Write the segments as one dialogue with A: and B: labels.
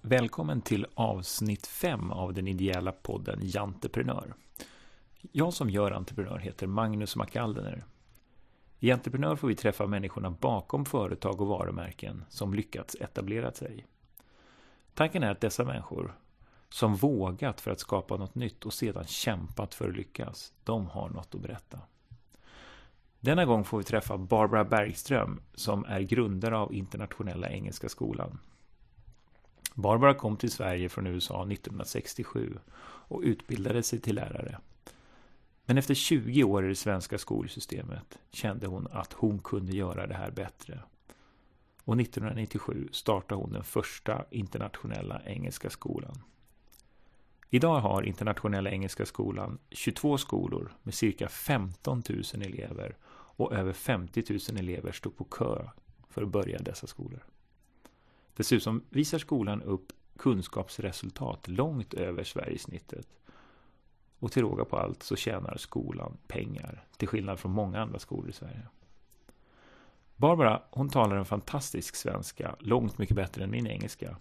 A: Välkommen till avsnitt 5 av den ideella podden Janteprenör. Jag som gör entreprenör heter Magnus McAldener. I Entreprenör får vi träffa människorna bakom företag och varumärken som lyckats etablera sig. Tanken är att dessa människor som vågat för att skapa något nytt och sedan kämpat för att lyckas, de har något att berätta. Denna gång får vi träffa Barbara Bergström som är grundare av Internationella Engelska Skolan. Barbara kom till Sverige från USA 1967 och utbildade sig till lärare. Men efter 20 år i det svenska skolsystemet kände hon att hon kunde göra det här bättre. Och 1997 startade hon den första internationella engelska skolan. Idag har Internationella Engelska Skolan 22 skolor med cirka 15 000 elever och över 50 000 elever står på kö för att börja dessa skolor. Dessutom visar skolan upp kunskapsresultat långt över Sverigesnittet. Och till råga på allt så tjänar skolan pengar, till skillnad från många andra skolor i Sverige. Barbara, hon talar en fantastisk svenska, långt mycket bättre än min engelska.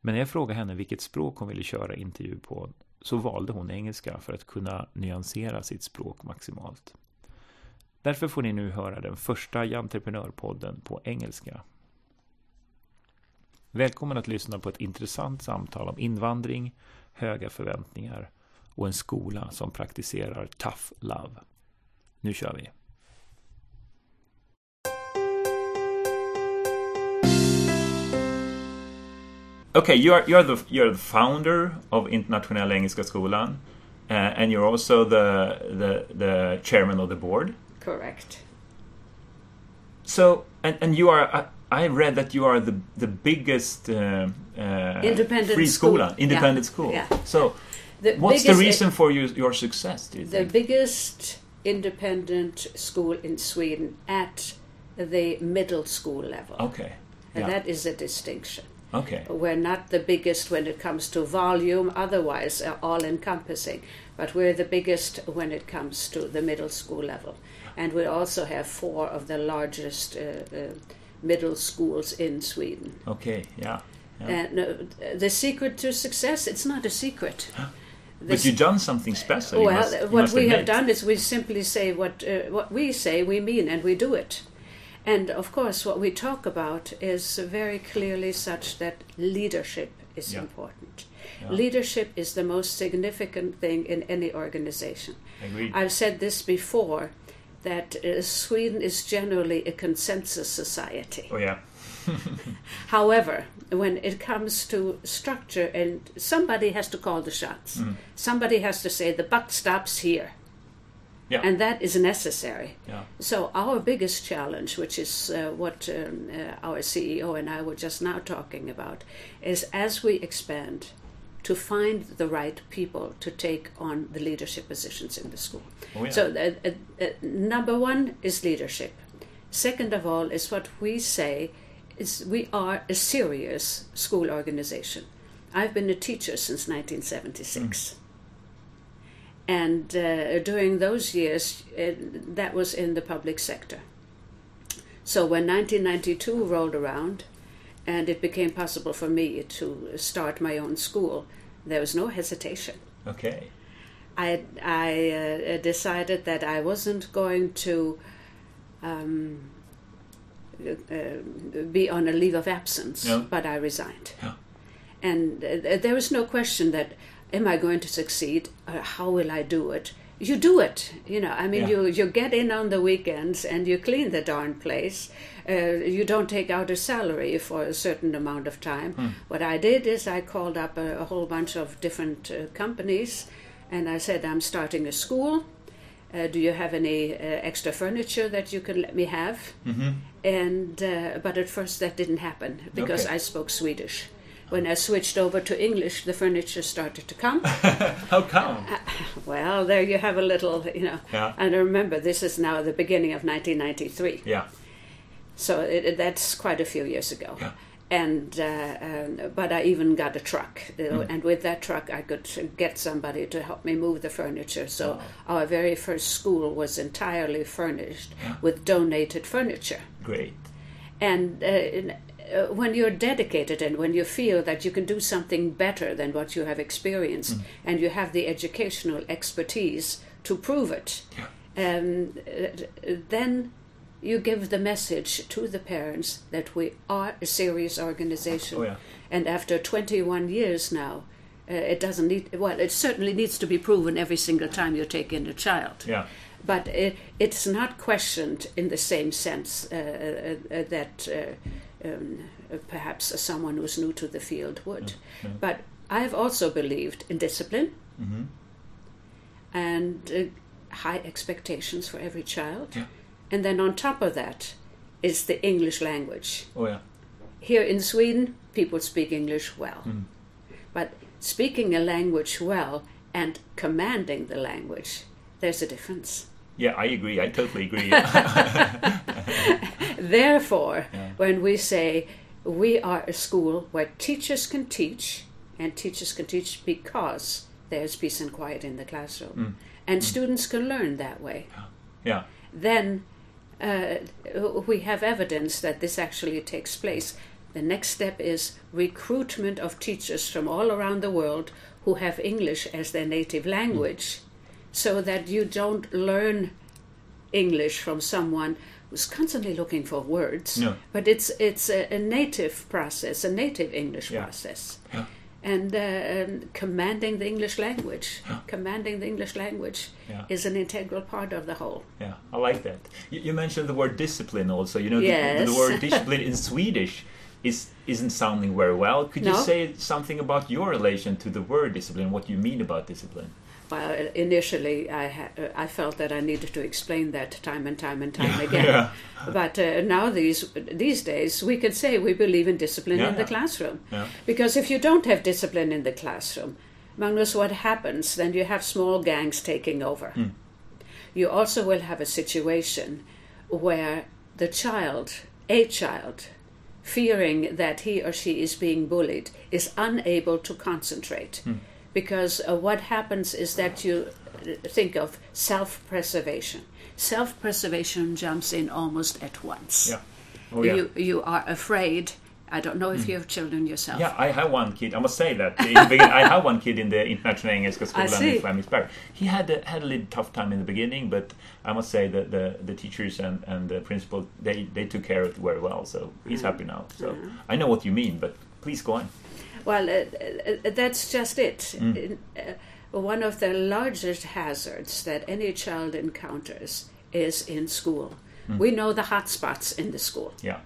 A: Men när jag frågade henne vilket språk hon ville köra intervju på så valde hon engelska för att kunna nyansera sitt språk maximalt. Därför får ni nu höra den första Jantreprenörpodden på engelska Välkommen att lyssna på ett intressant samtal om invandring, höga förväntningar och en skola som praktiserar tough love. Nu kör vi! Okay, you're you're the you're the founder of Internationella Engelska Skolan, uh, and you're also the the the chairman of the board.
B: Correct.
A: So, and and you are a, I read that you are the the biggest uh, uh,
B: Independent
A: free
B: school.
A: school, independent
B: Yeah,
A: school.
B: yeah.
A: So,
B: The
A: what's the
B: biggest- uh,
A: reason for you, your success? Do you
B: The
A: think?
B: biggest independent school in Sweden at the middle school level.
A: Okay.
B: And
A: Oh, Yeah.
B: that is a distinction.
A: Okay.
B: We're not the biggest when it comes to volume, otherwise uh, all encompassing, but we're the biggest when it comes to the middle school level. And we also have four of the largest uh, uh, middle schools in Sweden.
A: Okay. Yeah. yeah.
B: And uh, the secret to success, it's not a secret.
A: but you've done something special. you
B: Oh, well,
A: must- you
B: what
A: must
B: we have
A: admit.
B: done is we simply say what uh, what we say, we mean, and we do it. And of course, what we talk about is very clearly such that leadership is
A: Yeah.
B: important.
A: Yeah.
B: Leadership is the most significant thing in any organization.
A: Agreed.
B: I've said this before that uh, Sweden is generally a consensus society.
A: oh yeah.
B: However, when it comes to structure, and somebody has to call the shots, somebody has to say the buck stops here,
A: Yeah.
B: and that is necessary.
A: yeah.
B: So our biggest challenge, which is uh, what um, uh, our CEO and I were just now talking about, is as we expand, to find the right people to take on the leadership positions in the school.
A: Oh, yeah.
B: So uh, uh, uh, number one is leadership. Second of all is what we say is we are a serious school organization. I've been a teacher since 1976. And uh, during those years, uh, that was in the public sector. So when 1992 rolled around and it became possible for me to start my own school, there was no hesitation.
A: Okay.
B: I, I uh, decided that I wasn't going to um, uh, uh, be on a leave of absence,
A: Yeah.
B: but I resigned.
A: Yeah.
B: And uh, there was no question that, am I going to succeed? Or how will I do it? You do it, you know. I mean,
A: Yeah.
B: you, you get in on the weekends and you clean the darn place. Uh, you don't take out a salary for a certain amount of time. What I did is I called up a, a whole bunch of different uh, companies and I said, I'm starting a school. Uh, do you have any uh, extra furniture that you can let me have?
A: Mm-hmm.
B: And uh, but at first that didn't happen because
A: Okay.
B: I spoke Swedish. When I switched over to English, the furniture started to come.
A: How come?
B: well, there you have a little, you know.
A: Yeah.
B: And remember, this is now the beginning of 1993.
A: Yeah.
B: So it, it- that's quite a few years ago.
A: Yeah.
B: And uh, um, but I even got a truck, you know, and with that truck I could get somebody to help me move the furniture. So our very first school was entirely furnished with donated furniture
A: Great.
B: and uh, uh, when you're dedicated and when you feel that you can do something better than what you have experienced
A: Mm.
B: and you have the educational expertise to prove it, um, uh, then you give the message to the parents that we are a serious organization.
A: Oh, yeah.
B: And after 21 years now, uh, it doesn't need, well, it certainly needs to be proven every single time you take in a child
A: Yeah.
B: but it, it's not questioned in the same sense uh, uh, uh, that uh, um, uh, perhaps someone who's new to the field would.
A: Yeah, Mm-hmm. yeah.
B: But I've also believed in discipline and uh, high expectations for every child.
A: Yeah.
B: And then on top of that is the English language
A: Oh ja.
B: here in Sweden, people speak English well.
A: Mm.
B: But speaking a language well and commanding the language, there's a difference.
A: Yeah, I agree. I totally agree. yeah.
B: Therefore,
A: Yeah.
B: when we say we are a school where teachers can teach, and teachers can teach because there's peace and quiet in the classroom, and students can learn that way,
A: yeah.
B: then uh, we have evidence that this actually takes place. The next step is recruitment of teachers from all around the world who have English as their native language, so that you don't learn English from someone who's constantly looking for words.
A: No.
B: But it's it's a, a native process, a native English
A: Yeah.
B: process.
A: Yeah.
B: And, uh, and commanding the English language, commanding the English language
A: Yeah.
B: is an integral part of the whole.
A: Yeah, I like that. You, you mentioned the word discipline also. You know, the- the,
B: Yes.
A: word discipline in Swedish is isn't sounding very well. Could you
B: No.
A: say something about your relation to the word discipline? What you mean about discipline?
B: Well, initially, I ha- uh, I felt that I needed to explain that time and time and time again.
A: Yeah.
B: But uh, now these these days, we can say we believe in discipline
A: Yeah,
B: in the
A: yeah.
B: classroom,
A: Yeah.
B: because if you don't have discipline in the classroom, Magnus, what happens? Then you have small gangs taking over.
A: Hmm.
B: You also will have a situation where the child, a child, fearing that he or she is being bullied, is unable to concentrate.
A: Hmm.
B: Because uh, what happens is that you uh, think of self preservation. Self preservation jumps in almost at once.
A: Yeah. Oh yeah. Hmm.
B: You, you are afraid. I don't know if you have children yourself.
A: Yeah, I have one kid. I must say that in the beginning, I have one kid in the International Engelska
B: I
A: Skolan
B: see.
A: in Flemingsberg. He had a, had a little tough time in the beginning, but I must say that the, the teachers and, and the principal they, they took care of it very well. So he's
B: Mm.
A: happy now. So I know what you mean, but please go on.
B: Well, uh, uh, that's just it.
A: Hmm.
B: In- uh, one of the largest hazards that any child encounters is in school.
A: Hmm.
B: We know the hot spots in the school.
A: Yeah,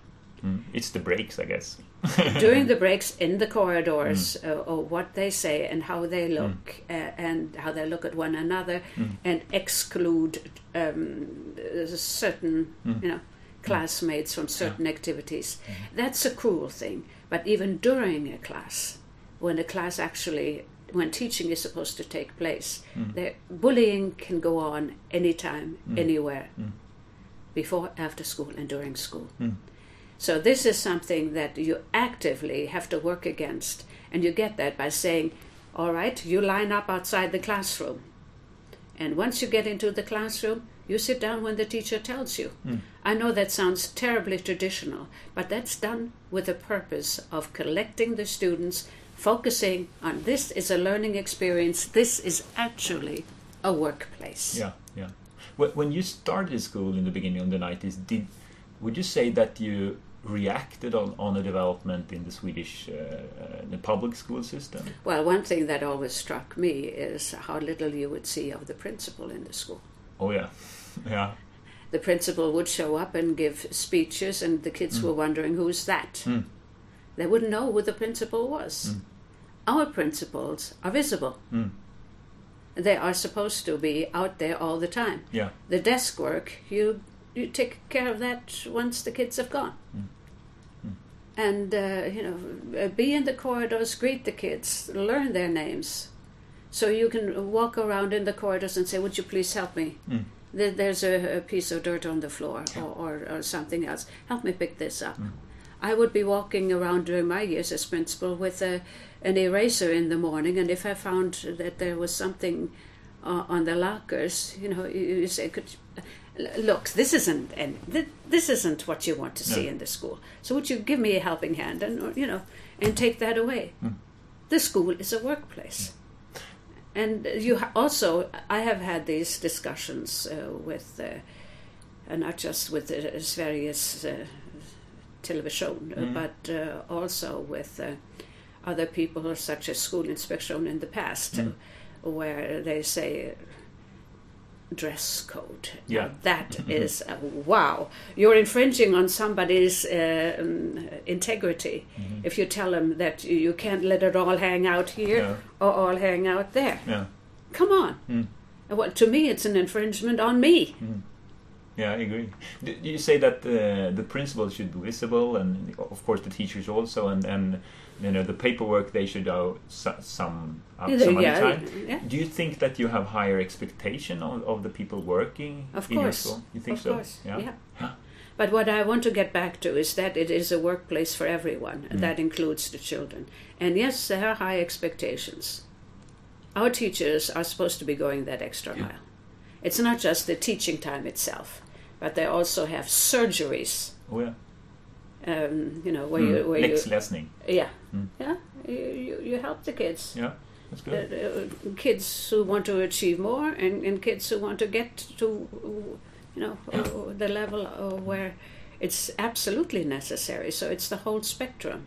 A: mm. it's the breaks, I guess.
B: During the breaks in the corridors, uh, or what they say and how they look, uh, and how they look at one another, and exclude um, uh, certain, you know, classmates from certain activities. That's a cruel thing. But even during a class, when a class actually, when teaching is supposed to take place, there bullying can go on anytime, anywhere, before, after school, and during school. So this is something that you actively have to work against, and you get that by saying, "All right, you line up outside the classroom, and once you get into the classroom, you sit down when the teacher tells you." I know that sounds terribly traditional, but that's done with the purpose of collecting the students, focusing on this is a learning experience. This is actually a workplace.
A: Yeah, yeah. Wh- When you started school in the beginning of the nineties, did would you say that you reacted on, on a development in the Swedish uh, uh, the public school system?
B: Well, one thing that always struck me is how little you would see of the principal in the school.
A: Oh yeah, yeah,
B: the principal would show up and give speeches, and the kids were wondering, who's that? They wouldn't know who the principal was. Our principals are visible. They are supposed to be out there all the time.
A: yeah,
B: The desk work, you, you take care of that once the kids have gone. And, uh, you know, uh, be in the corridors, greet the kids, learn their names. So you can walk around in the corridors and say, would you please help me? There- there's a, a piece of dirt on the floor or, or, or something else. Help me pick this up. I would be walking around during my years as principal with a, an eraser in the morning, and if I found that there was something uh, on the lockers, you know, you, you say, could you, l- look, this isn't and th- this isn't what you want to see
C: No.
B: in the school. So would you give me a helping hand and or, you know and take that away? The school is a workplace. And you ha- also, I have had these discussions uh, with, uh, and not just with uh, Sveriges uh, television,
C: Mm-hmm.
B: uh, but uh, also with uh, other people, such as school inspection in the past,
C: Mm-hmm.
B: uh, where they say uh, dress code.
C: Yeah. Mm-hmm.
B: Now that is a, wow. You're infringing on somebody's uh, um, integrity
C: Mm-hmm.
B: if you tell them that you, you can't let it all hang out here
C: Yeah.
B: or all hang out there.
C: Yeah.
B: Come on.
C: Mm.
B: And Well, to me, it's an infringement on me.
C: Mm-hmm. Yeah, I agree. D- You say that uh, the principal should be visible, and of course the teachers also, and, and you know the paperwork they should do so, some uh,
B: Either-
C: some other
B: yeah,
C: time.
B: yeah.
C: Do you think that you have higher expectation of, of the people working
B: Of
C: in your
B: course.
C: school? You think
B: of
C: so?
B: course.
C: Yeah.
B: But what I want to get back to is that it is a workplace for everyone,
C: Hmm.
B: and that includes the children. And yes, there are high expectations. Our teachers are supposed to be going that extra mile. It's not just the teaching time itself, but they also have surgeries.
C: Oh yeah.
B: Um, you know where
C: Mm.
B: you where
C: Lex
B: you
C: Lesning.
B: yeah
C: Mm.
B: yeah you, you, you help the kids.
C: Yeah, that's good.
B: uh, uh, kids who want to achieve more and, and kids who want to get to you know uh, the level uh, where it's absolutely necessary so it's the whole spectrum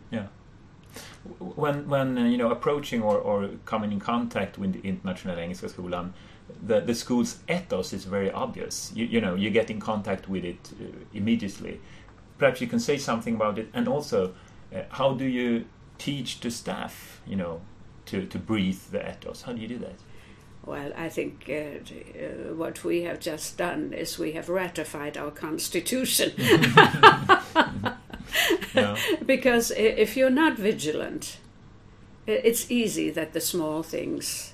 C: when when uh, you know approaching or, or coming in contact with the international Engelska skolan the, the school's ethos is very obvious you, you know you get in contact with it uh, immediately perhaps you can say something about it and also uh, how do you teach the staff you know to, to breathe the ethos how do you do that
B: well i think uh, d- uh, what we have just done is we have ratified our constitution
C: yeah
B: because i- if you're not vigilant i- it's easy that the small things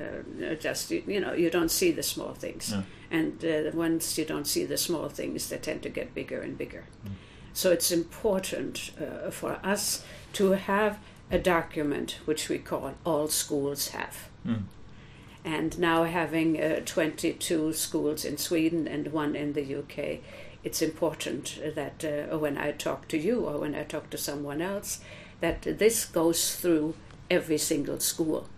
B: uh, are just you you know you don't see the small things
C: No.
B: and uh, once you don't see the small things they tend to get bigger and bigger so it's important uh, for us to have a document which we call all schools have
C: Mm.
B: and now having uh, 22 schools in Sweden and one in the UK, it's important that uh, when I talk to you or when I talk to someone else, that this goes through every single school.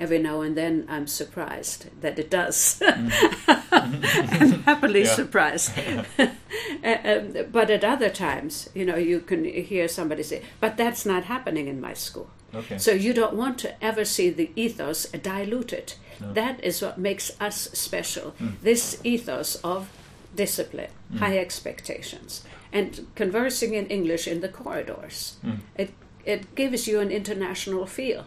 B: Every now and then I'm surprised that it does. I'm happily
C: Yeah.
B: surprised. Uh, um, but at other times, you know, you can hear somebody say, but that's not happening in my school.
C: okay
B: So you don't want to ever see the ethos diluted.
C: No. Hmm.
B: That is what makes us special. This ethos of discipline, high expectations, and conversing in English in the corridors.
C: Hmm.
B: It it gives you an international feel.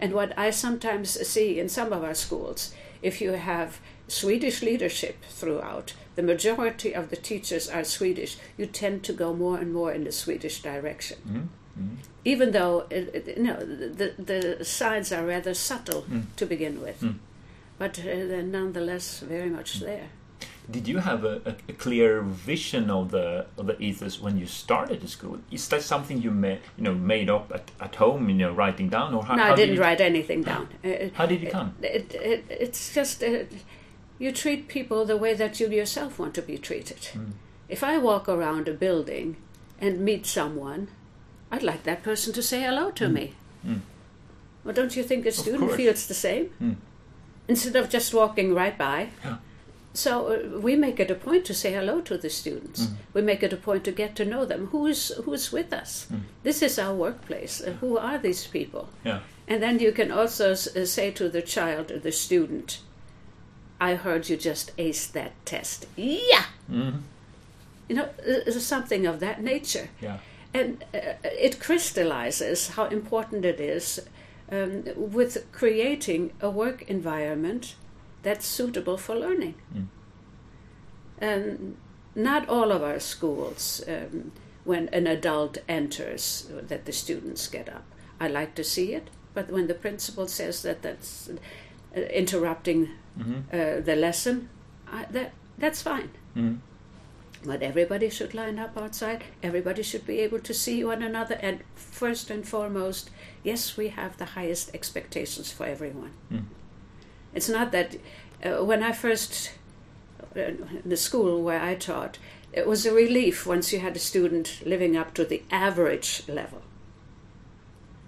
B: And what I sometimes see in some of our schools, if you have Swedish leadership throughout, the majority of the teachers are Swedish, you tend to go more and more in the Swedish direction
C: Mm-hmm.
B: even though it, it, no, the, the signs are rather subtle
C: Hmm.
B: to begin with, but uh, they're nonetheless very much
C: Hmm.
B: there.
C: did you have a, a, a clear vision of the of the ethos when you started the school is that something you made you know made up at, at home you know writing down or how,
B: No,
C: how
B: I didn't
C: did you, Ah.
B: write anything down. Uh,
C: how did you come
B: It, it, it's just uh, you treat people the way that you yourself want to be treated.
C: Hmm.
B: If I walk around a building and meet someone, I'd like that person to say hello to me. Well, don't you think a student
C: Mm. course. Mm.
B: feels the same? Instead of just walking right by.
C: Yeah.
B: So uh, we make it a point to say hello to the students.
C: Mm.
B: We make it a point to get to know them. Who is who is with us? This is our workplace. Uh, who are these people?
C: Mm. yeah
B: And then you can also s- uh, say to the child or the student, I heard you just aced that test. Yeah!
C: Mm-hmm,
B: You know, uh, uh, something of that nature.
C: yeah
B: And uh, it crystallizes how important it is um, with creating a work environment that's suitable for learning. Um, not all of our schools, um, when an adult enters, that the students get up. I like to see it, but when the principal says that that's uh, interrupting
C: mm-hmm,
B: uh, the lesson, I, that that's fine.
C: mm-hmm.
B: But everybody should line up outside. Everybody should be able to see one another. And first and foremost, yes, we have the highest expectations for everyone. It's not that uh, when I first uh, the school where I taught, it was a relief once you had a student living up to the average level.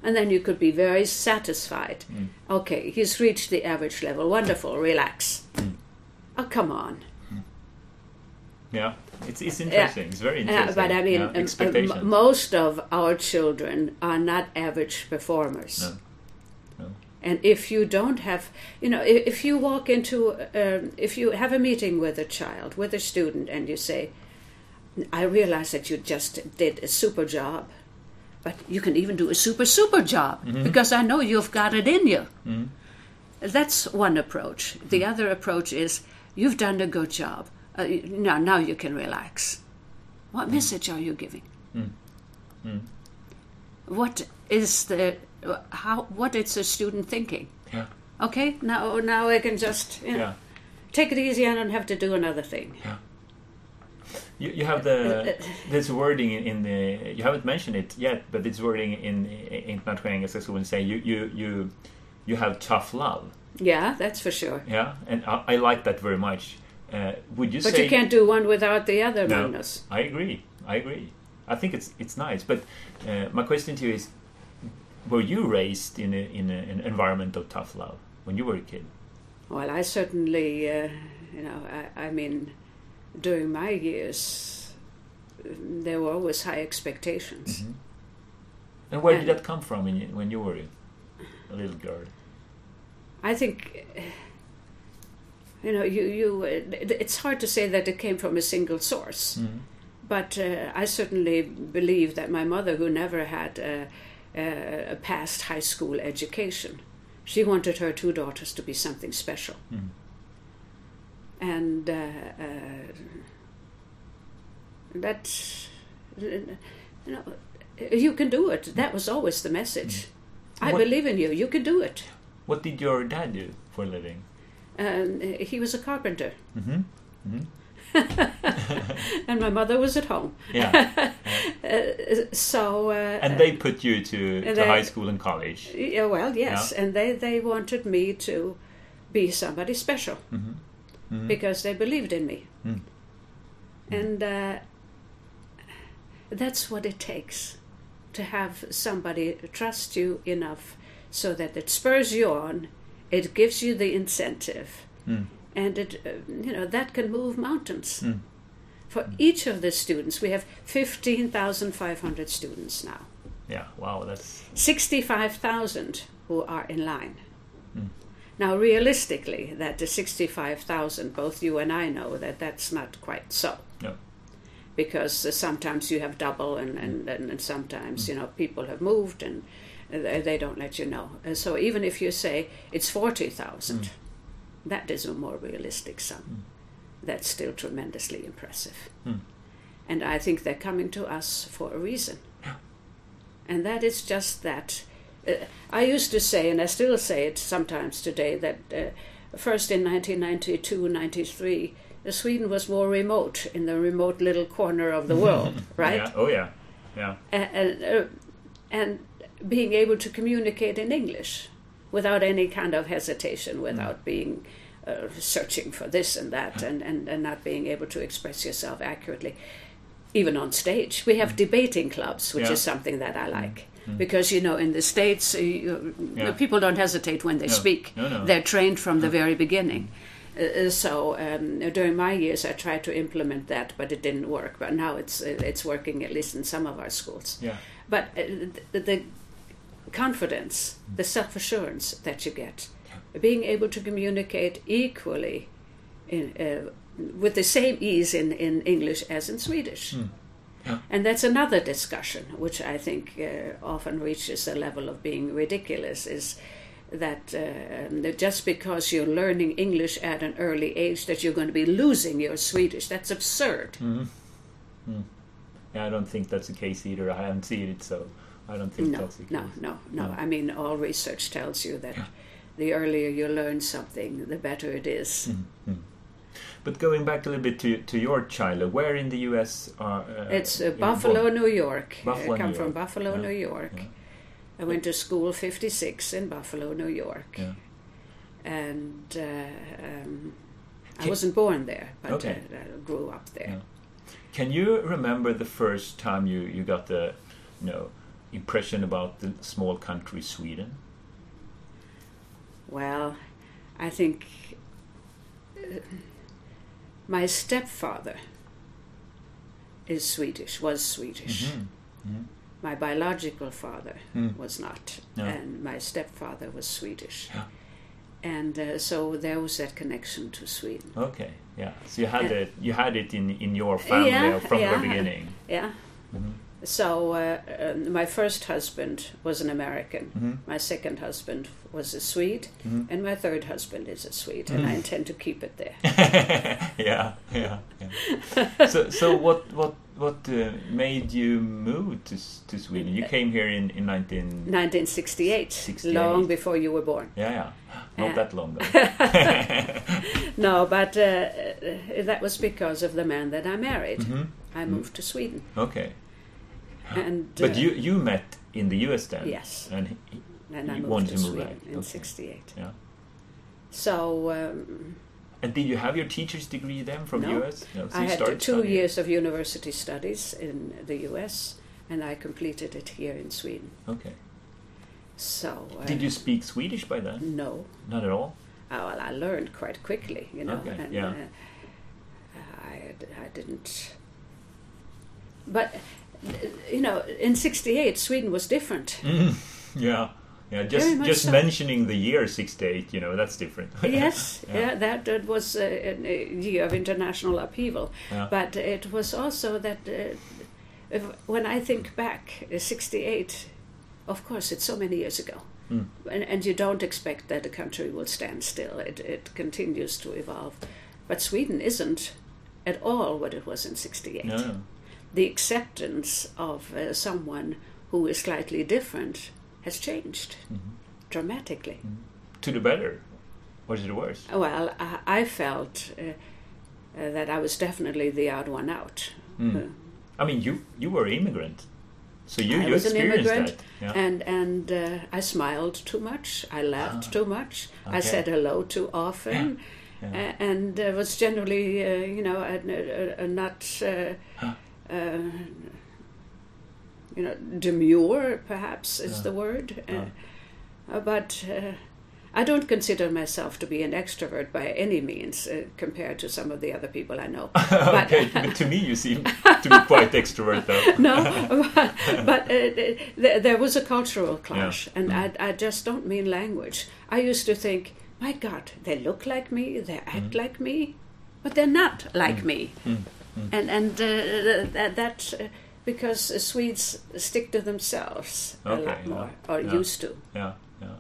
B: And then you could be very satisfied. Okay, he's reached the average level. Wonderful, relax. Oh, come on.
C: Yeah, it's, it's interesting. It's very
B: Yeah,
C: interesting.
B: but I mean,
C: yeah.
B: um, um,
C: expectations.
B: m- most of our children are not average performers.
C: No. No.
B: And if you don't have, you know, if, if you walk into, um, if you have a meeting with a child, with a student, and you say, I realize that you just did a super job, but you can even do a super, super job
C: Mm-hmm.
B: because I know you've got it in you. That's one approach. The
C: Mm-hmm.
B: other approach is you've done a good job. Uh, you- now, now you can relax.
C: Mm.
B: What message are you giving? What is the how? What is the student thinking?
C: yeah,
B: Okay, now now I can just you know,
C: yeah.
B: take it easy. I don't have to do another thing.
C: You, you have the this wording in, in the you haven't mentioned it yet, but this wording in in International Engelska Skolan say you you you you have tough love.
B: Yeah, that's for sure.
C: Yeah, and I, I like that very much. Uh, would you
B: But
C: say?
B: you can't do one without the other,
C: No,
B: Magnus.
C: I agree. I agree. I think it's it's nice. But uh, my question to you is: Were you raised in a, in a, an environment of tough love when you were a kid?
B: Well, I certainly, uh, you know, I, I mean, during my years, there were always high expectations.
C: And where did
B: Yeah.
C: that come from in, when you were a little girl?
B: I think, uh, you know, you you. uh, It's hard to say that it came from a single source, but uh, I certainly believe that my mother, who never had a, a, a past high school education, she wanted her two daughters to be something special, and uh, uh, that you know, you can do it. That was always the message. I
C: What-
B: believe in you. You can do it.
C: What did your dad do for a living?
B: Um, he was a carpenter. and my mother was at home. Uh,
C: Yeah,
B: So, uh,
C: and they put you to, to
B: they-
C: high school and college.
B: yeah, well, yes.
C: Yeah.
B: And they, they wanted me to be somebody special
C: Mm.
B: because they believed in me. And uh, that's what it takes to have somebody trust you enough so that it spurs you on, it gives you the incentive, and it, uh, you know, that can move mountains.
C: Mm.
B: For each of the students, we have 15,500 students now.
C: Yeah, wow, that's
B: 65,000 who are in line. Now, realistically, that the 65,000, both you and I know that that's not quite so.
C: no.
B: Because uh, sometimes you have double, and, and, and, and sometimes you know people have moved, and uh, they they don't let you know. And so even if you say it's forty thousand, that is a more realistic sum. That's still tremendously impressive, and I think they're coming to us for a reason and that is just that. Uh, I used to say, and I still say it sometimes today, that uh, first in 1992, 93, uh, Sweden was more remote in the remote little corner of the world, right?
C: Yeah. Oh yeah, yeah,
B: A- And, uh, and being able to communicate in English without any kind of hesitation, without
C: Mm.
B: being uh, searching for this and that, and, and, and not being able to express yourself accurately. Even on stage, we have debating clubs, which
C: Mm. Yeah. Mm.
B: is something that I like. Because you know, in the states, uh, you,
C: Yeah.
B: people don't hesitate when they speak.
C: No, no.
B: They're trained from the very beginning. Uh, Uh, so um, during my years, I tried to implement that, but it didn't work. But now it's uh, it's working at least in some of our schools.
C: yeah.
B: But uh, the, the confidence, the self assurance that you get, being able to communicate equally in, uh, with the same ease in, in English as in Swedish.
C: Yeah.
B: And that's another discussion, which I think uh, often reaches a level of being ridiculous, is that uh, that just because you're learning English at an early age, that you're going to be losing your Swedish. That's absurd.
C: Yeah, I don't think that's the case either. I haven't seen it, so I don't think
B: No,
C: that's the case.
B: no, no, no. I mean, all research tells you that the earlier you learn something, the better it is.
C: Mm-hmm. But going back a little bit to, to your childhood, where in the U.S. are uh,
B: It's
C: you
B: uh,
C: were
B: Buffalo,
C: born?
B: New York.
C: Buffalo,
B: I come
C: New
B: from
C: York.
B: Buffalo,
C: Yeah,
B: New York. I went to school 56 in Buffalo, New York.
C: Yeah.
B: And uh, um, I wasn't born there, but
C: Okay.
B: uh, I grew up there.
C: Yeah. Can you remember the first time you, you got the you know, impression about the small country Sweden?
B: Well, I think uh, my stepfather is Swedish, was Swedish.
C: Mm-hmm.
B: My biological father
C: Mm.
B: was not,
C: No.
B: and my stepfather was Swedish.
C: Yeah.
B: And uh, so there was that connection to Sweden.
C: Okay, yeah. So you had
B: Yeah.
C: it you had it in, in your family
B: Yeah,
C: from
B: yeah.
C: the beginning.
B: Yeah. So uh, uh, my first husband was an American. My second husband was a Swede, and my third husband is a Swede, and
C: Hmm.
B: I intend to keep it there.
C: yeah, yeah. yeah. so so what what what uh, made you move to S- to Sweden? You came here in in 19
B: 1968,
C: 68.
B: long before you were born.
C: Yeah, yeah. Not
B: Yeah.
C: that long ago.
B: No, but uh, uh, that was because of the man that I married. I moved to Sweden,
C: Mm-hmm. Okay.
B: and
C: But
B: uh,
C: you you met in the US then?
B: Yes.
C: And he-
B: and I
C: you
B: moved
C: wanted
B: to
C: to move
B: Sweden
C: back.
B: in
C: Okay.
B: '68.
C: yeah.
B: So um,
C: And did you have your teacher's degree then from
B: No.
C: US? No, so
B: I
C: you
B: had two
C: started studying.
B: years of university studies in the U.S., and I completed it here in Sweden.
C: Okay.
B: So uh,
C: Did you speak Swedish by then?
B: No.
C: Not at all.
B: Uh, well, I learned quite quickly, you know.
C: Okay,
B: and,
C: yeah.
B: uh, I, I didn't. But, uh, you know, in 68, Sweden was different.
C: Mm. Yeah. Yeah,
B: Very
C: just
B: much
C: just
B: so.
C: mentioning the year 68, you know, that's different.
B: yes, yeah.
C: Yeah.
B: that, that was uh, an- a year of international upheaval.
C: Yeah.
B: But it was also that uh, if, when I think back, uh, 68, of course, it's so many years ago.
C: Hmm.
B: And, and you don't expect that a country will stand still, it, it continues to evolve. But Sweden isn't at all what it was in 68
C: No, no.
B: the acceptance of uh, someone who is slightly different has changed dramatically.
C: Mm-hmm. Hmm. To the better. Or to the worse.
B: Well, I, I felt uh, uh, that I was definitely the odd one out.
C: Hmm.
B: Uh,
C: Mm. I mean, you you were immigrant. So you,
B: I
C: you
B: was an
C: experienced
B: immigrant,
C: that. Yeah.
B: and and uh, I smiled too much. I laughed too much. I
C: Ah, okay.
B: said hello too often, a- and uh, was generally, uh, you know, a, a, a not, uh, uh, you know, demure. Perhaps is the word, uh, uh, but. Uh, I don't consider myself to be an extrovert by any means uh, compared to some of the other people I know. uh, But
C: okay, but to me you seem to be quite extrovert though.
B: no, but, but uh, th- th- there was a cultural clash, and
C: Mm.
B: I, I just don't mean language. I used to think, my God, they look like me, they act
C: Mm.
B: like me, but they're not like me, and and uh, th- th- that uh, because uh, Swedes stick to themselves a
C: Okay,
B: lot
C: yeah,
B: more, or
C: yeah.
B: used to,
C: Yeah, yeah.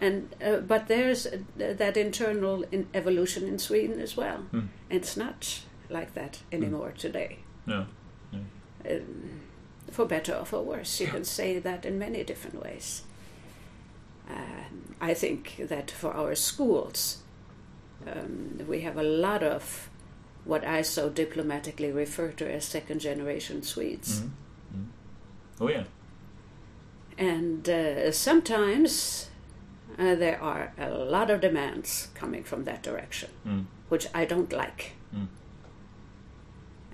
B: and uh, but there's uh, th- that internal in- evolution in Sweden as well.
C: Mm.
B: It's not like that anymore today
C: No.
B: um, for better or for worse. You can say that in many different ways. Um, I think that for our schools, um, we have a lot of what I so diplomatically refer to as second generation Swedes.
C: Mm-hmm. Oh yeah.
B: And uh, sometimes uh, there are a lot of demands coming from that direction,
C: Mm.
B: which I don't like.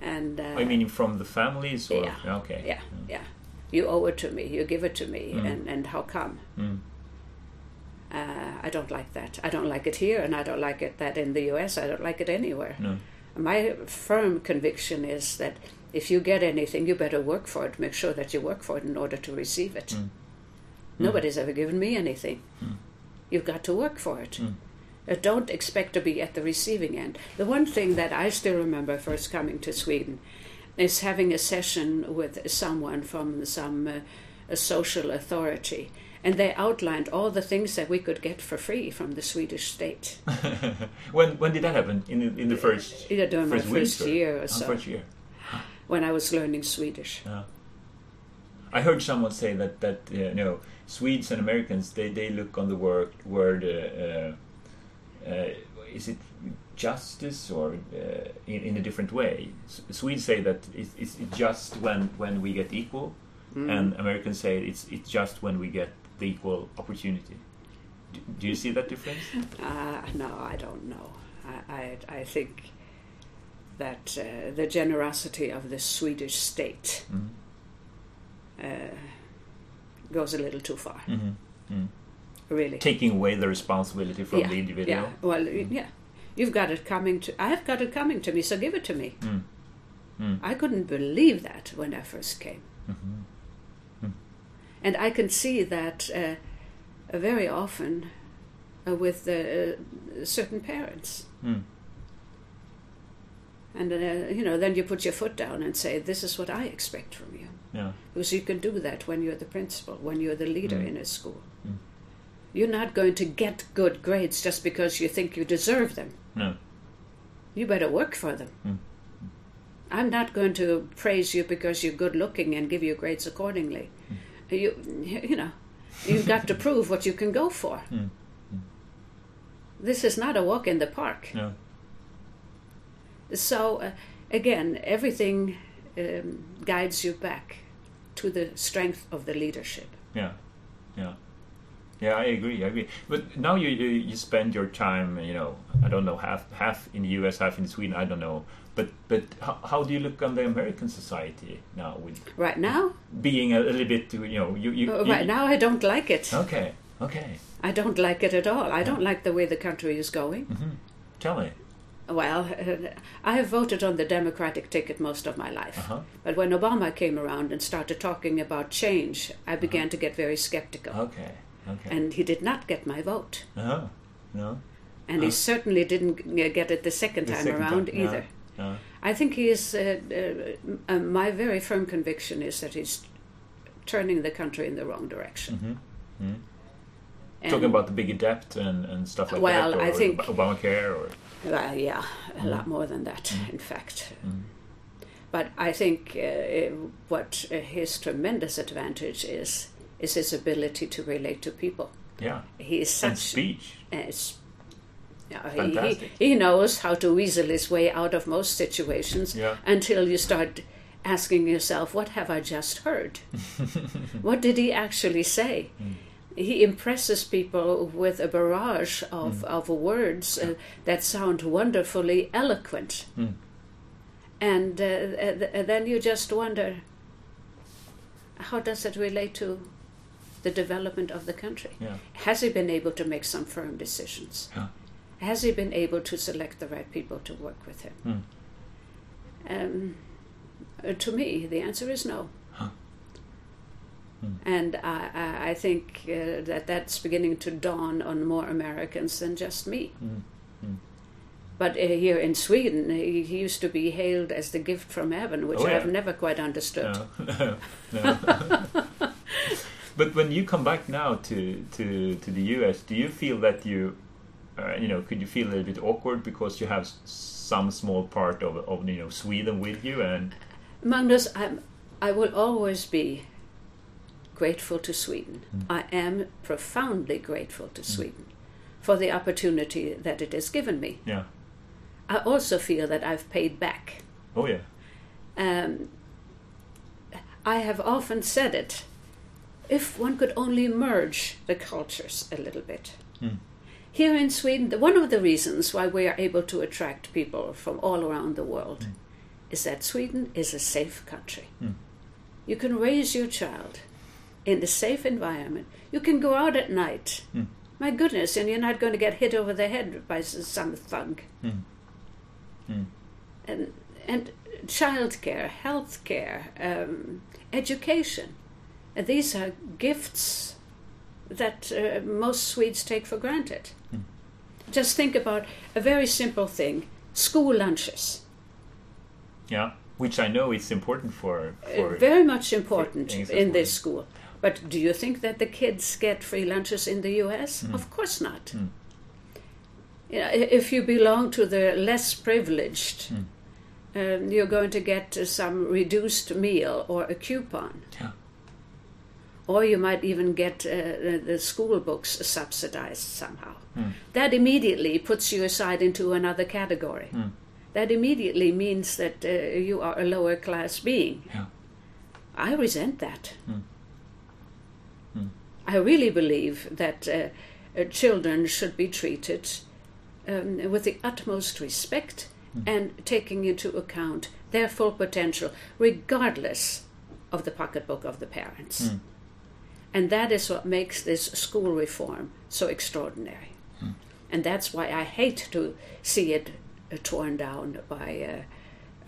B: And uh,
C: I mean from the families or
B: Yeah.
C: okay.
B: yeah, yeah. You owe it to me. You give it to me, and and how come? Uh, I don't like that. I don't like it here, and I don't like it that in the U.S. I don't like it anywhere.
C: No.
B: My firm conviction is that if you get anything, you better work for it. Make sure that you work for it in order to receive it. Nobody's ever given me anything. You've got to work for it. Uh, don't expect to be at the receiving end. The one thing that I still remember first coming to Sweden is having a session with someone from some uh, a social authority, and they outlined all the things that we could get for free from the Swedish state.
C: When when did that happen? In the, in the first
B: Yeah, during my
C: first, week
B: first year or
C: Ah,
B: so.
C: First year.
B: when I was learning Swedish.
C: I heard someone say that that uh, you know Swedes and Americans they, they look on the word word uh, uh, uh, is it justice or uh, in, in a different way. S- Swedes say that it's, it's just when when we get equal,
B: Mm.
C: and Americans say it's it's just when we get the equal opportunity. Do, do you see that difference?
B: Uh, no, I don't know. I, I, I think that uh, the generosity of the Swedish state
C: Mm.
B: uh, goes a little too far,
C: Mhm. Mm.
B: really.
C: Taking away the responsibility from the individual.
B: Yeah. Well, y- yeah. You've got it coming to. I have got it coming to me, so give it to me.
C: Mm. Mm.
B: I couldn't believe that when I first came,
C: Mhm.
B: and I can see that uh, very often uh, with uh, certain parents.
C: Mm.
B: And uh, you know, then you put your foot down and say, "This is what I expect from you,"
C: Yeah.
B: because you can do that when you're the principal, when you're the leader
C: Mm.
B: in a school.
C: Mm.
B: You're not going to get good grades just because you think you deserve them.
C: No.
B: You better work for them.
C: Mm.
B: I'm not going to praise you because you're good looking and give you grades accordingly.
C: Mm.
B: You, you know, you've got to prove what you can go for.
C: Mm.
B: This is not a walk in the park.
C: No.
B: So, uh, again, everything um, guides you back to the strength of the leadership.
C: Yeah, yeah, yeah. I agree. I agree. But now you you, you spend your time, you know, I don't know, half half in the U.S., half in Sweden. I don't know. But but how, how do you look on the American society now with
B: Right now,
C: being a little bit, you know, you you,
B: uh,
C: you-
B: right now, I don't like it.
C: Okay, okay.
B: I don't like it at all. I don't like the way the country is going.
C: Hmm. Tell me.
B: Well, uh, I have voted on the Democratic ticket most of my life.
C: Uh-huh.
B: But when Obama came around and started talking about change, I
C: Uh-huh.
B: began to get very skeptical.
C: Okay, okay.
B: And he did not get my vote.
C: uh-huh. no,
B: And he certainly didn't uh, get it the second
C: Uh-huh. the
B: time
C: second
B: around
C: time. Uh-huh.
B: either.
C: No, no.
B: I think he is, uh, uh, m- uh, my very firm conviction is that he's turning the country in the wrong direction. Mm-hmm. And-
C: Mm-hmm. Talking about the big debt and, and stuff like
B: Well,
C: that, or
B: I think-
C: Ob- Obamacare, or
B: Well, yeah, a lot
C: Mm-hmm.
B: more than that, in fact. But I think uh, it- what uh, his tremendous advantage is is his ability to relate to people.
C: yeah,
B: He is
C: and
B: such.
C: speech.
B: uh, s- yeah, he-
C: Fantastic.
B: he, he knows how to weasel his way out of most situations
C: Yeah.
B: until you start asking yourself, "What have I just heard? what did he actually say?" He impresses people with a barrage of, of words uh, that sound wonderfully eloquent. And uh, th- th- then you just wonder how does it relate to the development of the country?
C: Yeah.
B: Has he been able to make some firm decisions?
C: Yeah.
B: Has he been able to select the right people to work with him?
C: Hmm.
B: Um, uh, to me, the answer is no.
C: Hmm.
B: And I, I, I think uh, that that's beginning to dawn on more Americans than just me.
C: Mm.
B: But uh, here in Sweden, he, he used to be hailed as the gift from heaven, which
C: Oh, yeah.
B: I've never quite understood.
C: No, no, no. but when you come back now to, to, to the US, do you feel that you, uh, you know, could you feel a little bit awkward because you have s- some small part of, of you know Sweden with you and
B: Magnus, I'm, I will always be grateful to Sweden. I am profoundly grateful to Sweden for the opportunity that it has given me.
C: yeah,
B: I also feel that I've paid back.
C: oh yeah,
B: Um, I have often said it if one could only merge the cultures a little bit. Here in Sweden, the- one of the reasons why we are able to attract people from all around the world is that Sweden is a safe country. You can raise your child in a safe environment. You can go out at night. My goodness, and you're not going to get hit over the head by s- some thug and and childcare, healthcare, um, education. And these are gifts that uh, most Swedes take for granted. Just think about a very simple thing: school lunches,
C: yeah, which I know is important for
B: Uh,
C: for
B: very much important
C: things
B: in
C: that
B: this school. But do you think that the kids get free lunches in the U.S.?
C: Hmm.
B: Of course not. You know, i- if you belong to the less privileged,
C: Hmm.
B: um, you're going to get uh, some reduced meal or a coupon.
C: Yeah.
B: Or you might even get uh, the- the school books subsidized somehow.
C: Hmm.
B: That immediately puts you aside into another category.
C: Hmm.
B: That immediately means that uh, you are a lower class being.
C: Yeah.
B: I resent that. I really believe that uh, uh, children should be treated um, with the utmost respect and taking into account their full potential, regardless of the pocketbook of the parents. And that is what makes this school reform so extraordinary. And that's why I hate to see it uh, torn down by uh,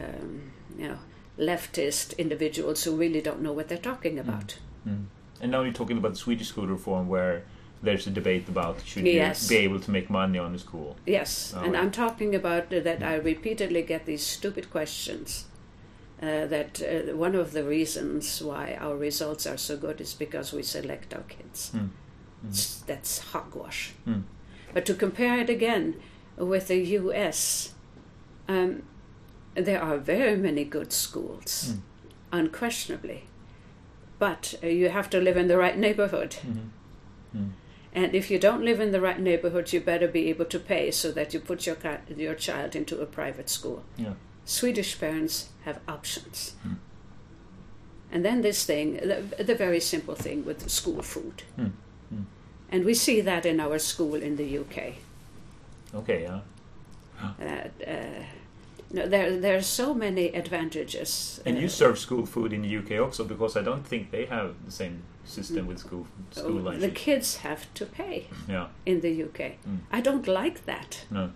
B: um, you know, leftist individuals who really don't know what they're talking about.
C: And now you're talking about Swedish school reform, where there's a debate about should
B: Yes.
C: you be able to make money on the school.
B: Yes,
C: Oh,
B: and
C: yeah.
B: I'm talking about that I repeatedly get these stupid questions. Uh, that uh, one of the reasons why our results are so good is because we select our
C: Hmm.
B: kids. S- That's hogwash.
C: Mm.
B: But to compare it again with the US, um, there are very many good
C: Hmm.
B: schools, unquestionably. But uh, you have to live in the right neighborhood. And if you don't live in the right neighborhood, you better be able to pay so that you put your, ca- your child into a private school.
C: Yeah. Hmm.
B: Swedish parents have options. And then this thing, the, the very simple thing with school food.
C: Mm.
B: And we see that in our school in the UK.
C: Okay. Yeah.
B: That, uh, no, there, there are so many advantages.
C: And you
B: uh,
C: serve school food in the UK also, because I don't think they have the same system with school school
B: the
C: lunches.
B: kids have to pay
C: Yeah.
B: in the UK. I don't like that.
C: No.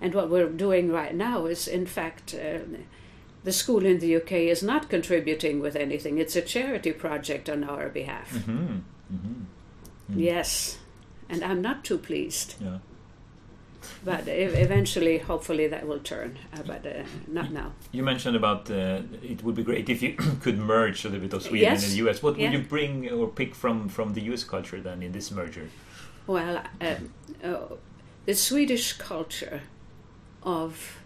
B: And what we're doing right now is, in fact, uh, the school in the UK is not contributing with anything. It's a charity project on our behalf.
C: Hmm. hmm
B: Yes. And I'm not too pleased.
C: Yeah.
B: But e- eventually, hopefully, that will turn. Uh, but uh, not now.
C: You mentioned about uh, it would be great if you could merge a little bit of Sweden
B: Yes.
C: and the US. What
B: Yeah.
C: would you bring or pick from from the US culture then in this merger?
B: Well, uh, uh, the Swedish culture of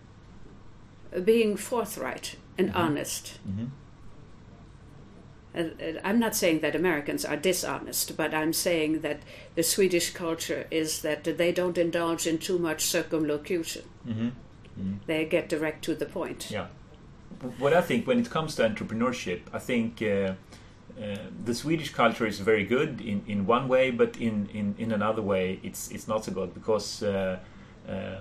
B: being forthright and honest.
C: Mhm.
B: Uh, uh, I'm not saying that Americans are dishonest, but I'm saying that the Swedish culture is that they don't indulge in too much circumlocution.
C: hmm
B: They get direct to the point.
C: Yeah. What I think when it comes to entrepreneurship, I think uh, uh, the Swedish culture is very good in, in one way, but in, in, in another way, it's it's not so good because uh, uh,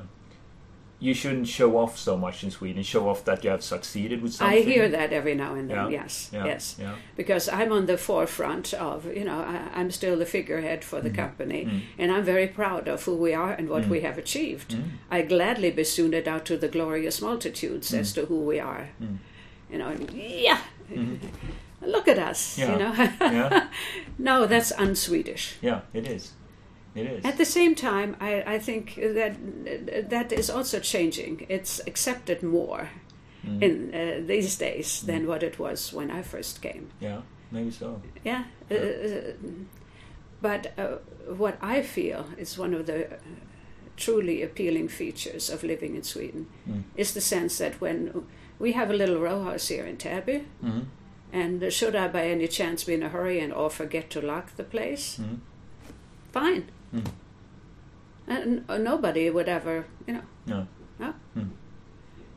C: you shouldn't show off so much in Sweden. Show off that you have succeeded with something.
B: I hear that every now and then.
C: Yeah,
B: Yes,
C: yeah,
B: yes.
C: yeah.
B: Because I'm on the forefront of, you know, I, I'm still the figurehead for
C: Mm-hmm.
B: the company, and I'm very proud of who we are and
C: Mm.
B: what we have achieved. I gladly besoon it out to the glorious multitudes
C: Mm.
B: as to who we are. You know, and yeah, look at us.
C: Yeah.
B: You know,
C: Mm-hmm. yeah,
B: no, that's unswedish.
C: yeah, it is, it is.
B: At the same time, I, I think that that is also changing. It's accepted more
C: Mm-hmm.
B: in uh, these days than what it was when I first came.
C: yeah, maybe so.
B: Yeah. Uh, but uh, what I feel is one of the uh, truly appealing features of living in Sweden
C: Mm-hmm.
B: is the sense that when we have a little row house here in Täby,
C: Mm-hmm.
B: and uh, should I by any chance be in a hurry and or forget to lock the place, fine. And uh, nobody would ever, you know.
C: No.
B: No.
C: Mm.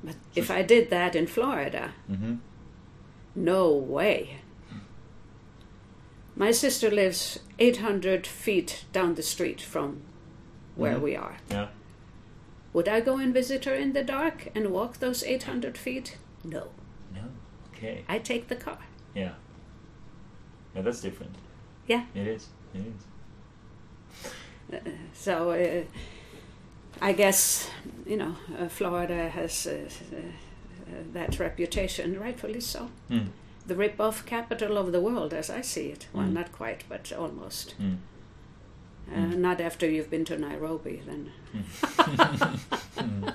B: But if I did that in Florida,
C: hmm
B: no way. My sister lives 800 feet down the street from where
C: Mhm.
B: we are.
C: Yeah.
B: Would I go and visit her in the dark and walk those 800 feet? No.
C: No. Okay.
B: I take the car.
C: Yeah. Yeah, that's different.
B: Yeah.
C: It is. It is.
B: So uh, I guess, you know, uh, Florida has uh, uh, that reputation, rightfully so.
C: Mm.
B: The rip-off capital of the world, as I see it. Well,
C: Mm.
B: not quite, but almost.
C: Mm.
B: Uh, Not after you've been to Nairobi, then.
C: Hmm.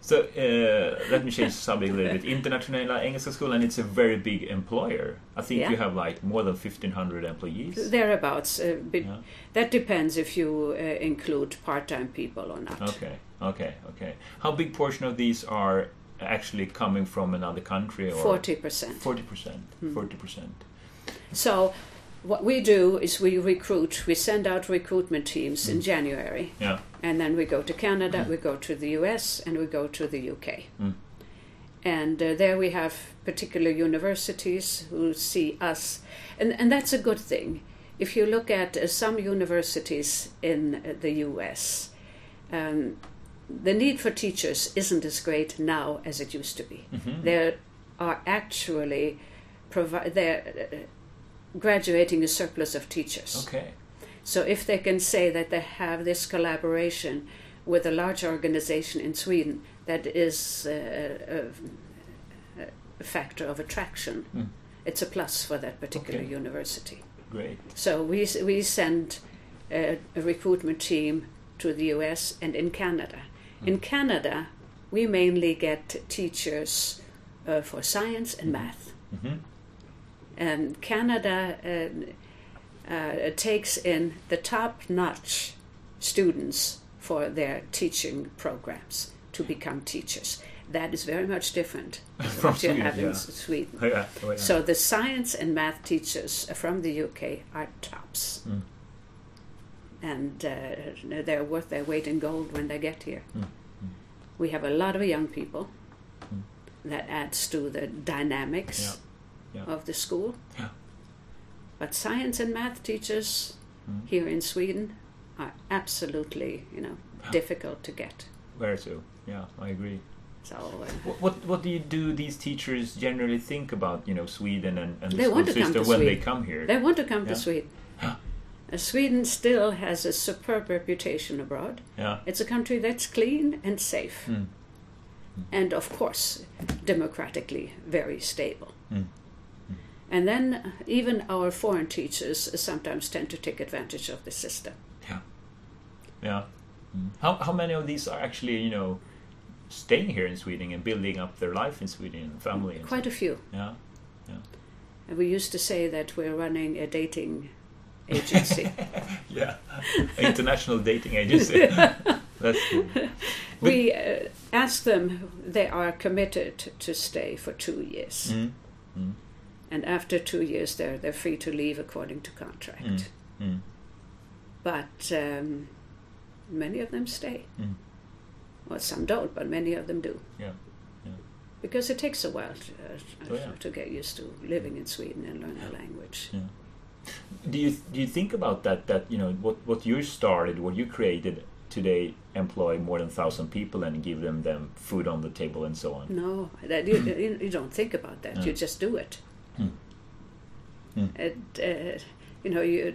C: So uh, let me change the subject a little bit. Internationella Engelska Skolan, it's a very big employer. I think
B: Yeah.
C: you have like more than 1,500 employees.
B: Thereabouts. Uh, be-
C: Yeah.
B: That depends if you uh, include part time people or not.
C: Okay, okay, okay. How big portion of these are actually coming from another country? Or
B: 40%.
C: 40%.
B: Hmm.
C: 40%.
B: So, what we do is we recruit, we send out recruitment teams
C: Mm.
B: in January,
C: Yeah.
B: and then we go to Canada, we go to the US, and we go to the UK.
C: Mm-hmm. Mm.
B: And uh, there we have particular universities who see us, and, and that's a good thing. If you look at uh, some universities in uh, the US, um, the need for teachers isn't as great now as it used to be.
C: Mhm.
B: There are actually provi- they're uh, graduating a surplus of teachers.
C: Okay.
B: So if they can say that they have this collaboration with a large organization in Sweden that is uh, a- a, a factor of attraction,
C: Mm.
B: it's a plus for that particular
C: Okay.
B: university.
C: Great.
B: So we, s- we send a, a recruitment team to the US and in Canada. In Canada, we mainly get teachers uh, for science and math.
C: Mhm.
B: Um, Canada uh, uh, takes in the top notch students for their teaching programs to become teachers. That is very much different
C: From
B: what you
C: Sweden,
B: have in
C: yeah.
B: S- Sweden.
C: Oh, yeah. Oh, yeah.
B: So the science and math teachers from the UK are tops.
C: Mm.
B: And uh, they're worth their weight in gold when they get here.
C: Mm. Mm.
B: We have a lot of young people.
C: Mm.
B: That adds to the dynamics
C: Yeah. Yeah.
B: of the school.
C: Yeah.
B: But science and math teachers
C: Mm.
B: here in Sweden are absolutely, you know, difficult to get.
C: Very so. Yeah, I agree.
B: So uh,
C: What, what what do you do? These teachers generally think about you know Sweden and, and the
B: They
C: school
B: want to come
C: system
B: to
C: when they
B: Sweden.
C: come here.
B: They want to come
C: Yeah.
B: to Sweden. Uh, Sweden still has a superb reputation abroad.
C: yeah.
B: It's a country that's clean and safe,
C: Mm.
B: and of course, democratically very stable.
C: Mm.
B: And then uh, even our foreign teachers sometimes tend to take advantage of the system.
C: Yeah. Yeah. Mm. How how many of these are actually you know staying here in Sweden and building up their life in Sweden and family? And
B: Quite a few.
C: stuff? yeah.
B: And we used to say that we're running a dating agency.
C: Yeah. International dating agency. That's cool.
B: we uh, ask them, they are committed to stay for two years.
C: Mm.
B: And after two years, they're, they're free to leave according to contract.
C: Mm. Mm.
B: But um, many of them stay.
C: Mm.
B: Well, some don't, but many of them do.
C: Yeah.
B: Because it takes a while to, uh,
C: Oh, yeah. Mm.
B: to get used to living in Sweden and learn the language.
C: Do you do you think about that? That you know what what you started, what you created today, employ more than thousand people and give them them food on the table and so on.
B: No, that you, you, you don't think about that. You just do it. It, uh, you know, you.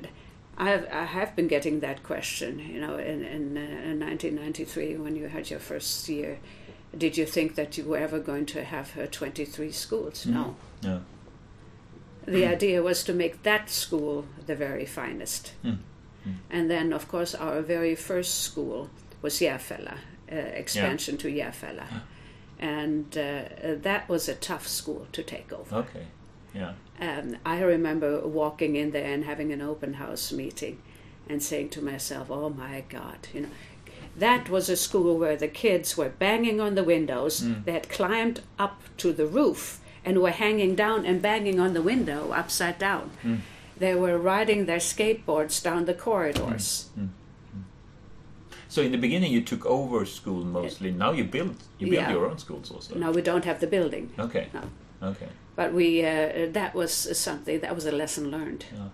B: I have, I have been getting that question, you know, in, in, uh, in 1993 when you had your first year. Did you think that you were ever going to have uh, 23 schools? No.
C: Yeah.
B: The idea was to make that school the very finest.
C: Mm.
B: And then, of course, our very first school was Järfälla, uh, expansion to Järfälla. And uh, uh, that was a tough school to take over.
C: Okay. Yeah.
B: Um, I remember walking in there and having an open house meeting and saying to myself, oh my God, you know. That was a school where the kids were banging on the windows. They had climbed up to the roof and were hanging down and banging on the window upside down. They were riding their skateboards down the corridors.
C: So in the beginning, you took over school mostly. Now you build you build
B: Yeah.
C: your own schools also.
B: Now we don't have the building.
C: Okay.
B: No.
C: Okay.
B: But we uh, that was something that was a lesson learned
C: Yeah.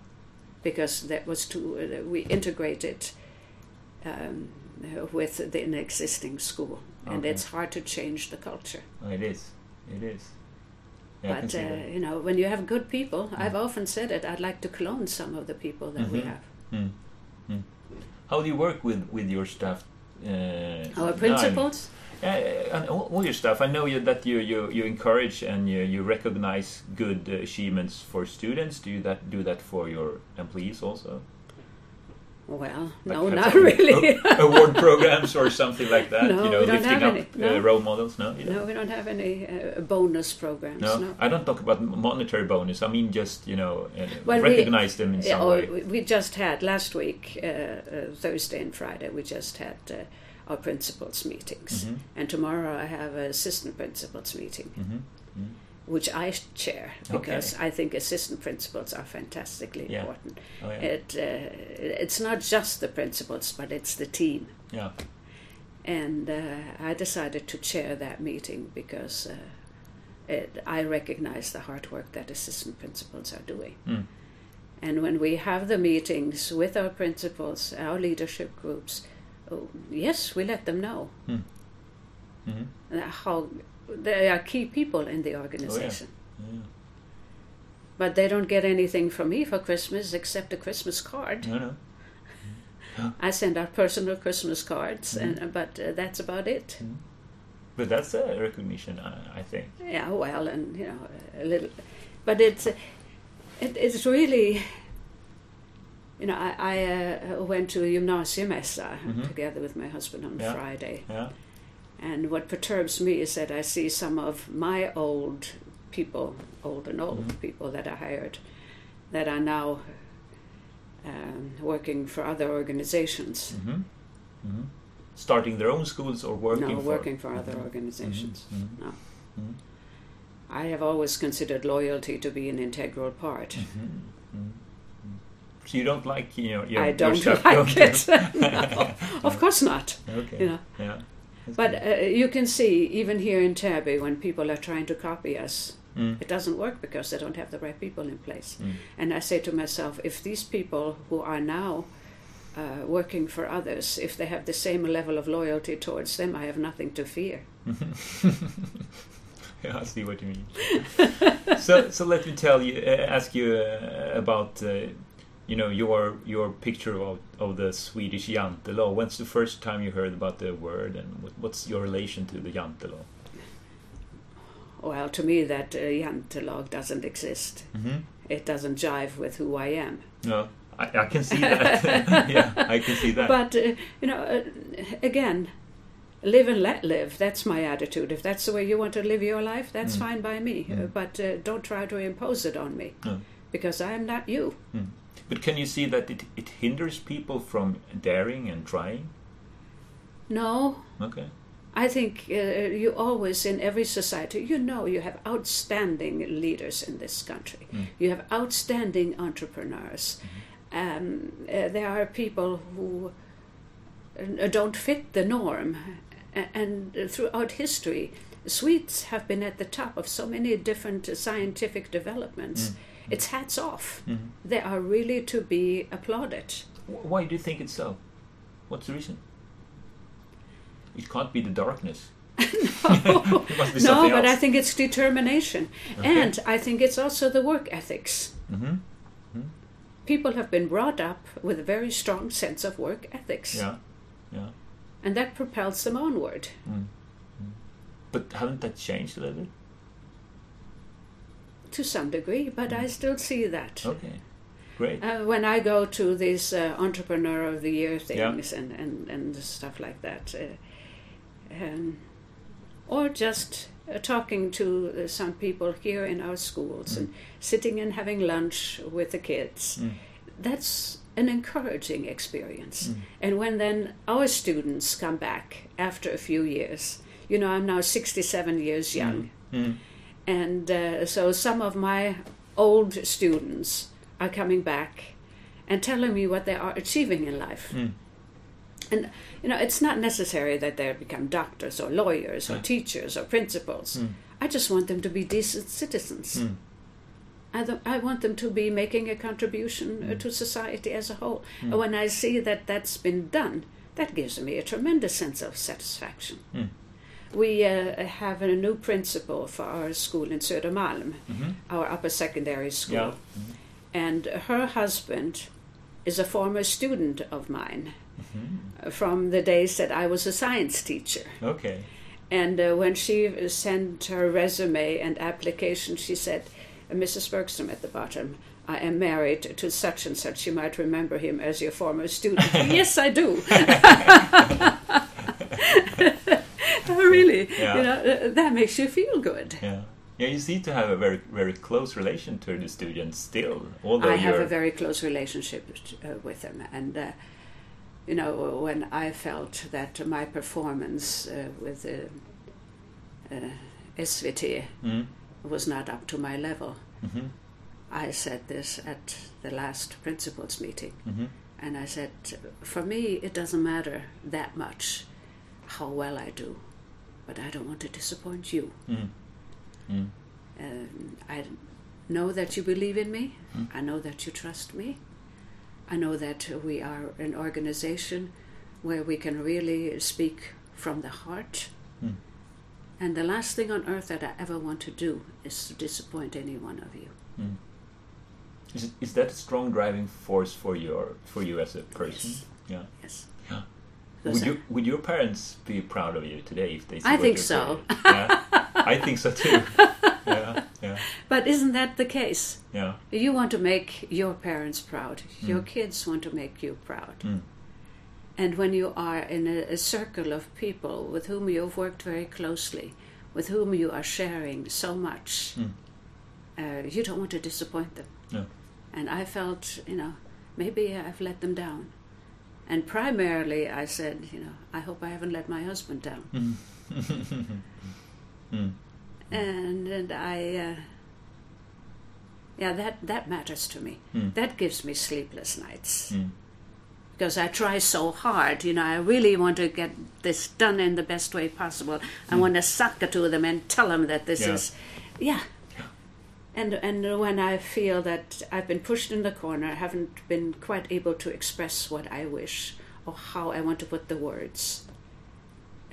B: because that was to uh, we integrated um, uh, with the, an existing school, and
C: Okay.
B: it's hard to change the culture.
C: Oh, it is. It is. Yeah, I can
B: but
C: see
B: uh,
C: that. Mm.
B: you know, when you have good people, I've often said it. I'd like to clone some of the people that we
C: Mhm.
B: have.
C: Hmm. How do you work with with your staff? Uh,
B: Our
C: now?
B: principals.
C: Yeah, and all, all your stuff. I know you, that you, you, you encourage and you, you recognize good uh, achievements for students. Do you that do that for your employees also?
B: Well,
C: Like Oh. have
B: no, not
C: some
B: really.
C: a- award programs or something like that.
B: No,
C: you know,
B: we don't
C: lifting
B: have
C: up
B: any. No.
C: uh, role models. No, you
B: no, we don't have any uh, bonus programs.
C: No?
B: No.
C: I don't talk about m- monetary bonus. I mean, just you know, uh,
B: Well, we-
C: recognize them in some
B: Yeah, or
C: way.
B: we we just had last week, uh, uh, Thursday and Friday, we just had uh, our principals' meetings.
C: Mhm.
B: And tomorrow I have an assistant principals' meeting,
C: Mhm.
B: which I chair
C: Okay.
B: because I think assistant principals are fantastically
C: Yeah.
B: important.
C: Oh, yeah.
B: It, uh, it's not just the principals, but it's the team.
C: yeah,
B: And uh, I decided to chair that meeting because uh, it, I recognize the hard work that assistant principals are doing.
C: Mm.
B: And when we have the meetings with our principals, our leadership groups, Oh, yes, we let them know
C: Mhm.
B: uh, how they are key people in the organization.
C: Yeah.
B: But they don't get anything from me for Christmas except a Christmas card.
C: No, no.
B: I send out personal Christmas cards, and, but uh, that's about it.
C: Mm-hmm. But that's a recognition, I, I think.
B: Yeah, well, and you know, a little, but it's it, it's really, you know, I, I uh, went to gymnasiemässa together with my husband on
C: Mm-hmm. Yeah.
B: Friday,
C: Yeah.
B: and what perturbs me is that I see some of my old people, old and old
C: Mm-hmm.
B: people that I hired, that are now um, working for other organizations.
C: hmm hmm Starting their own schools or working
B: no,
C: for
B: working for other
C: Mhm.
B: organizations.
C: Mhm.
B: No.
C: Mhm.
B: I have always considered loyalty to be an integral part.
C: Mhm. Mhm. So you don't like you know your,
B: I
C: your
B: don't
C: stuff,
B: like
C: don't you?
B: it. No, of course not.
C: Okay.
B: You know.
C: Yeah. That's
B: But
C: good.
B: uh, you can see, even here in Täby, when people are trying to copy us,
C: Mm.
B: it doesn't work because they don't have the right people in place.
C: Mm.
B: And I say to myself, if these people who are now uh, working for others, if they have the same level of loyalty towards them, I have nothing to fear.
C: yeah, I see what you mean. so, so let me tell you, uh, ask you uh, about, uh, you know, your your picture of, of the Swedish jantelaw. When's the first time you heard about the word, and what, what's your relation to the jantelaw?
B: Well, to me, that uh, jantelog doesn't exist.
C: Mm-hmm.
B: It doesn't jive with who I am.
C: No, I, I can see that. yeah, I can see that.
B: But, uh, you know, uh, again, live and let live. That's my attitude. If that's the way you want to live your life, that's
C: Mm.
B: fine by me.
C: Mm. Oh.
B: Uh, But uh, don't try to impose it on me
C: No.
B: because I am not you.
C: Mm. But can you see that it, it hinders people from daring and trying?
B: No,
C: Okay.
B: I think uh, you always, in every society, you know you have outstanding leaders in this country.
C: Mm.
B: You have outstanding entrepreneurs.
C: Mm-hmm.
B: Um, uh, there are people who uh, don't fit the norm. A- And throughout history, Swedes have been at the top of so many different scientific
C: Mm.
B: developments. It's hats off.
C: Mhm.
B: They are really to be applauded.
C: Wh- Why do you think it's so? What's the reason? It can't be the darkness.
B: no,
C: It must be
B: no
C: something
B: but I
C: else.
B: think it's determination.
C: Okay.
B: And I think it's also the work ethics.
C: Mm-hmm.
B: People have been brought up with a very strong sense of work ethics,
C: Yeah, yeah.
B: and that propels them onward.
C: But haven't that changed a little bit?
B: To some degree, but
C: Mm.
B: I still see that.
C: Okay, great.
B: Uh, when I go to these uh, Entrepreneur of the Year things and, and, and stuff like that, uh, um, or just uh, talking to uh, some people here in our schools and sitting and having lunch with the kids,
C: Mm.
B: that's an encouraging experience.
C: Mm.
B: And when then our students come back after a few years, you know, I'm now 67 years young.
C: Mm.
B: And uh, so some of my old students are coming back and telling me what they are achieving in life.
C: Mm.
B: And, you know, it's not necessary that they become doctors or lawyers or
C: Yeah.
B: teachers or principals.
C: Mm.
B: I just want them to be decent citizens.
C: Mm.
B: I, th- I want them to be making a contribution uh, to society as a whole. And when I see that that's been done, that gives me a tremendous sense of satisfaction.
C: Mm.
B: We uh, have a new principal for our school in Södermalm,
C: Mhm.
B: our upper secondary school.
C: Yeah.
B: And her husband is a former student of mine
C: Mm-hmm.
B: uh, from the days that I was a science teacher.
C: Okay.
B: And uh, when she sent her resume and application, she said, Mrs. Bergstrom at the bottom, I am married to such and such. You might remember him as your former student. yes, I do. really,
C: Yeah.
B: you know, uh, that makes you feel good.
C: Yeah. Yeah, you seem to have a very, very close relation to the students still, although
B: I
C: you're.
B: have a very close relationship uh, with them, and uh, you know when I felt that my performance uh, with uh, uh, SVT
C: Mm.
B: was not up to my level,
C: Mhm.
B: I said this at the last principals meeting,
C: Mhm.
B: and I said, for me it doesn't matter that much how well I do, but I don't want to disappoint you.
C: Mm. Mm.
B: Um, I know that you believe in me.
C: Hmm.
B: I know that you trust me. I know that we are an organization where we can really speak from the heart.
C: Mm.
B: And the last thing on earth that I ever want to do is to disappoint any one of you.
C: Is, it, is that a strong driving force for your for you as a person?
B: Yes.
C: Yeah.
B: Yes.
C: Yeah.
B: Because
C: Would,
B: I-
C: you, would your parents be proud of you today if they? see
B: I
C: what
B: think
C: you're
B: so.
C: doing? Yeah. I think so too. Yeah, yeah,
B: But isn't that the case?
C: yeah.
B: You want to make your parents proud. Your kids want to make you proud.
C: Mm.
B: And when you are in a, a circle of people with whom you've worked very closely, with whom you are sharing so much,
C: Mm.
B: uh, you don't want to disappoint them.
C: No.
B: And I felt, you know, maybe I've let them down. And primarily I said, you know, I hope I haven't let my husband down.
C: Mm.
B: and and I uh, yeah that that matters to me.
C: Mm.
B: That gives me sleepless nights
C: Mm.
B: because I try so hard. You know, I really want to get this done in the best way possible. I want to sucker to them and tell them that this
C: Yeah.
B: is yeah. And, and when I feel that I've been pushed in the corner, I haven't been quite able to express what I wish or how I want to put the words,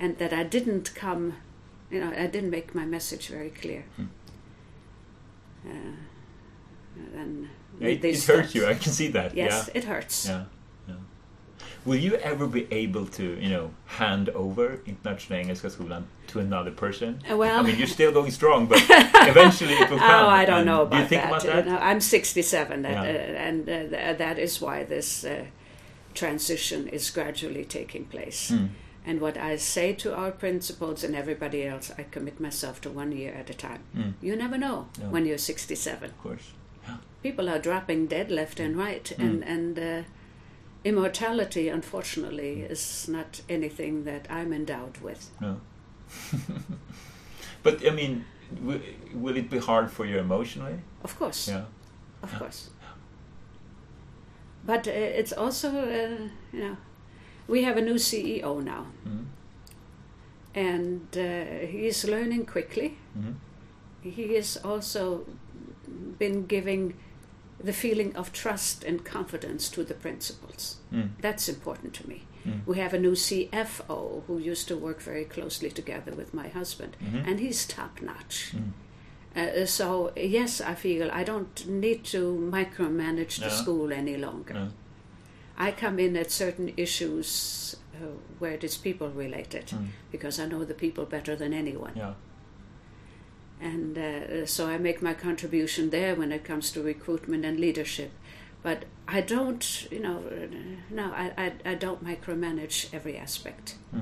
B: and that I didn't come, you know, I didn't make my message very clear.
C: Hmm.
B: Uh, then
C: Yeah, it,
B: they
C: it hurts
B: stopped.
C: you. I can see that.
B: Yes,
C: Yeah.
B: it hurts.
C: Yeah. yeah. Will you ever be able to, you know, hand over Internationella Engelska Skolan to another person?
B: Uh, well-
C: I mean, you're still going strong, but eventually it will come.
B: Oh, I don't
C: And
B: know about
C: Do you think
B: that.
C: about
B: You
C: that?
B: know, I'm 67, that,
C: Yeah.
B: uh, and uh, th- that is why this uh, transition is gradually taking place.
C: Hmm.
B: And what I say to our principals and everybody else, I commit myself to one year at a time. You never know
C: No.
B: when you're 67.
C: Hmm, Of course.
B: People are dropping dead left and right,
C: Mm.
B: and and uh, immortality, unfortunately, is not anything that I'm endowed with.
C: No. but I mean, w- will it be hard for you emotionally?
B: Of course.
C: Yeah.
B: of course. But uh, it's also, uh, you know, we have a new CEO now,
C: Mhm.
B: and uh, he is learning quickly.
C: Mhm.
B: He has also been giving the feeling of trust and confidence to the principals.
C: Mm.
B: That's important to me.
C: Mm.
B: We have a new CFO who used to work very closely together with my husband,
C: Mhm.
B: and he's top notch.
C: Mm.
B: Uh, so yes, I feel I don't need to micromanage the
C: No.
B: school any longer.
C: No.
B: I come in at certain issues uh, where it is people related
C: Mm.
B: because I know the people better than anyone,
C: Yeah.
B: and uh, so I make my contribution there when it comes to recruitment and leadership. But I don't, you know, uh, no, I, I, I don't micromanage every aspect.
C: Mm.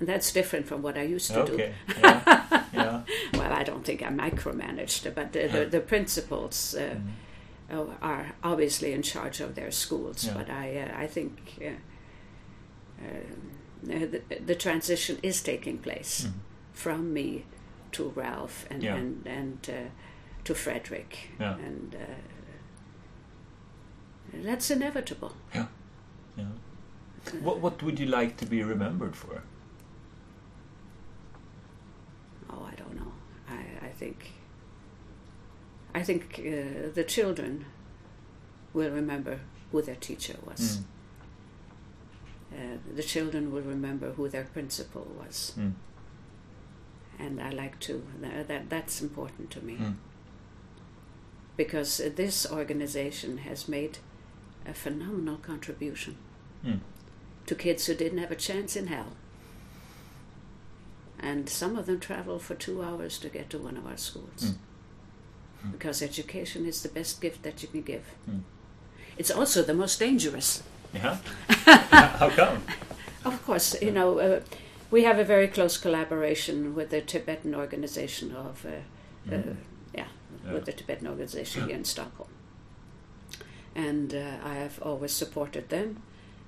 B: And that's different from what I used to do.
C: Okay.
B: Mm-hmm.
C: Yeah. Mm-hmm. yeah.
B: Well, I don't think I micromanaged, but the, the, the principals uh, uh, are obviously in charge of their schools.
C: Yeah.
B: But I, uh, I think uh, um, uh, the, the transition is taking place from me to Ralph and
C: Mm. Yeah.
B: and, and uh, to Frederick,
C: Yeah.
B: and uh, that's inevitable.
C: Yeah. What What would you like to be remembered for?
B: Oh, I don't know. I, I think. I think uh, the children will remember who their teacher was.
C: Mm.
B: Uh, the children will remember who their principal was,
C: Mm.
B: and I like to. That, that that's important to me
C: Mm.
B: because uh, this organization has made a phenomenal contribution
C: Mm.
B: to kids who didn't have a chance in hell. And some of them travel for two hours to get to one of our schools.
C: Mm.
B: Because education is the best gift that you can give.
C: Mm.
B: It's also the most dangerous.
C: Yeah. How come?
B: Of course, you know, uh, we have a very close collaboration with the Tibetan organization of, uh, uh, yeah,
C: Yeah.
B: with the Tibetan organization here in Stockholm. And uh, I have always supported them.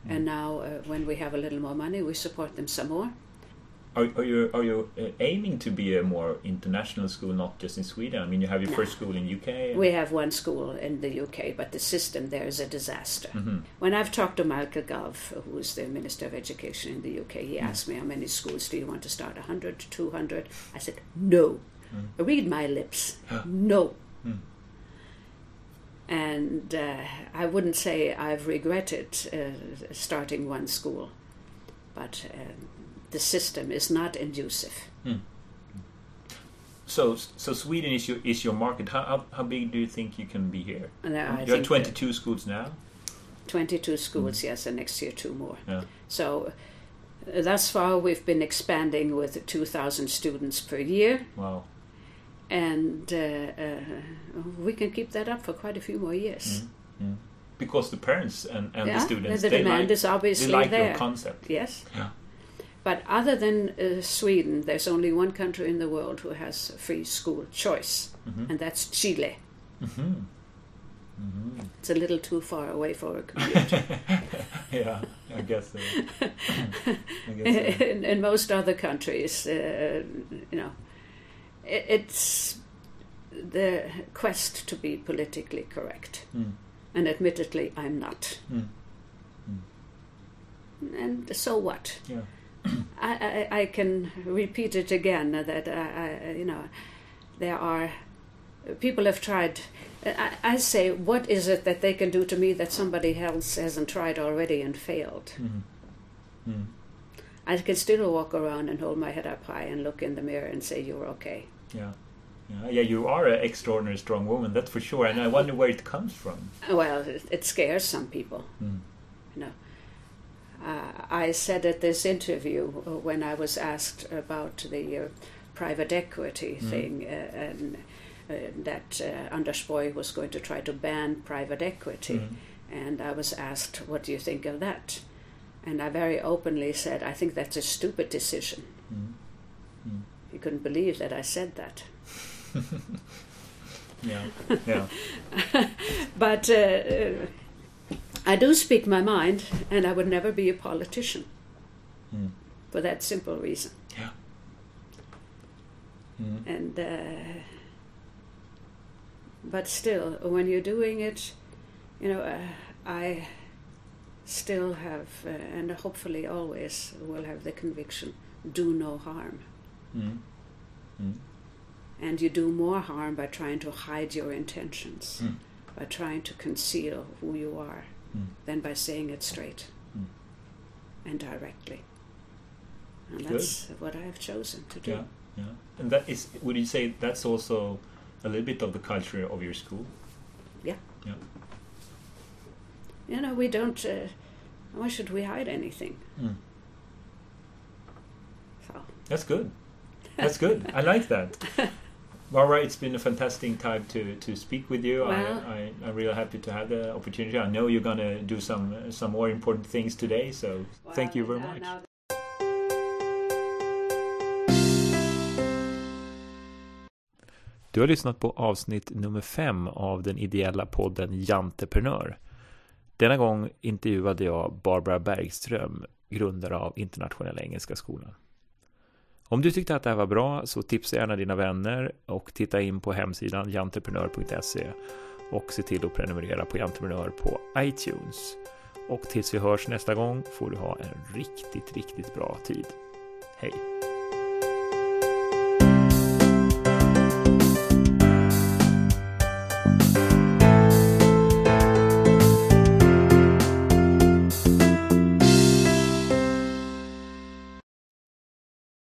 B: And now, uh, when we have a little more money, we support them some more.
C: Are, are you are you uh, aiming to be a more international school, not just in Sweden? I mean, you have your first school in UK. and-
B: We have one school in the UK, but the system there is a disaster.
C: Mm-hmm.
B: When I've talked to Malka Gov, who is the Minister of Education in the UK, he asked me, How many schools do you want to start? 100, 200? I said, No. Read my lips. No. and uh, I wouldn't say I've regretted uh, starting one school, but uh, the system is not inducive.
C: So, so Sweden is your is your market. How how, how big do you think you can be here?
B: And I
C: you have
B: think
C: twenty two schools now.
B: that 22 schools, yes, and next year two more.
C: Mm. Yeah.
B: So uh, thus far we've been expanding with 2,000 students per year,
C: Wow.
B: and uh, uh, we can keep that up for quite a few more years.
C: Mm-hmm. Because the parents and, Mm. and
B: Yeah,
C: the students
B: the
C: they
B: demand
C: like,
B: is obviously
C: they like
B: there.
C: your concept.
B: Yes.
C: Yeah.
B: But other than uh, Sweden, there's only one country in the world who has free school choice,
C: Mm-hmm.
B: and that's Chile.
C: Mm-hmm.
B: It's a little too far away for a commute.
C: yeah, I guess so. I guess so.
B: in, in most other countries, uh, you know, it, it's the quest to be politically correct.
C: Mm.
B: And admittedly, I'm not.
C: Mm.
B: And so what?
C: Yeah.
B: I, I, I can repeat it again uh, that I, I, you know there are people have tried. uh, I, I say, what is it that they can do to me that somebody else hasn't tried already and failed?
C: Mhm. Mm.
B: I can still walk around and hold my head up high and look in the mirror and say, "You're okay."
C: Yeah. Yeah, yeah, you are an extraordinary strong woman, that's for sure. And I wonder where it comes from.
B: Well, it, it scares some people.
C: Mm.
B: You know, uh, I said at this interview uh, when I was asked about the uh, private equity thing, uh, and uh, that uh, Anders Borg was going to try to ban private equity,
C: Hmm.
B: and I was asked, "What do you think of that?" And I very openly said, "I think that's a stupid decision."
C: mm,
B: He couldn't believe that I said that.
C: Yeah, yeah,
B: But uh, uh, I do speak my mind, and I would never be a politician
C: Mm.
B: for that simple reason.
C: yeah. Mm.
B: And uh, but still, when you're doing it, you know, uh, I still have, uh, and hopefully always will have the conviction: do no harm.
C: Mm. Mm.
B: And you do more harm by trying to hide your intentions,
C: Mm.
B: by trying to conceal who you are,
C: Mm.
B: than by saying it straight
C: Mm.
B: and directly. And that's what I've chosen to do.
C: Yeah, yeah. And that is, would you say that's also a little bit of the culture of your school?
B: Yeah.
C: Yeah.
B: You know, we don't, uh, why should we hide anything?
C: Mm.
B: So,
C: That's good. That's good. I like that. Barbara, it's been a fantastic time to, to speak with you.
B: Well-
C: I, I, I'm really happy to have the opportunity. I know you're going to do some some more important things today, so thank you very
B: Well, uh,
C: much.
B: now
A: Du har lyssnat på avsnitt nummer fem av den ideella podden Janteprenör. Denna gång intervjuade jag Barbara Bergström, grundare av Internationella Engelska Skolan. Om du tyckte att det här var bra så tipsa gärna dina vänner och titta in på hemsidan janteprenör.se och se till att prenumerera på Janteprenör på iTunes. Och tills vi hörs nästa gång får du ha en riktigt, riktigt bra tid. Hej!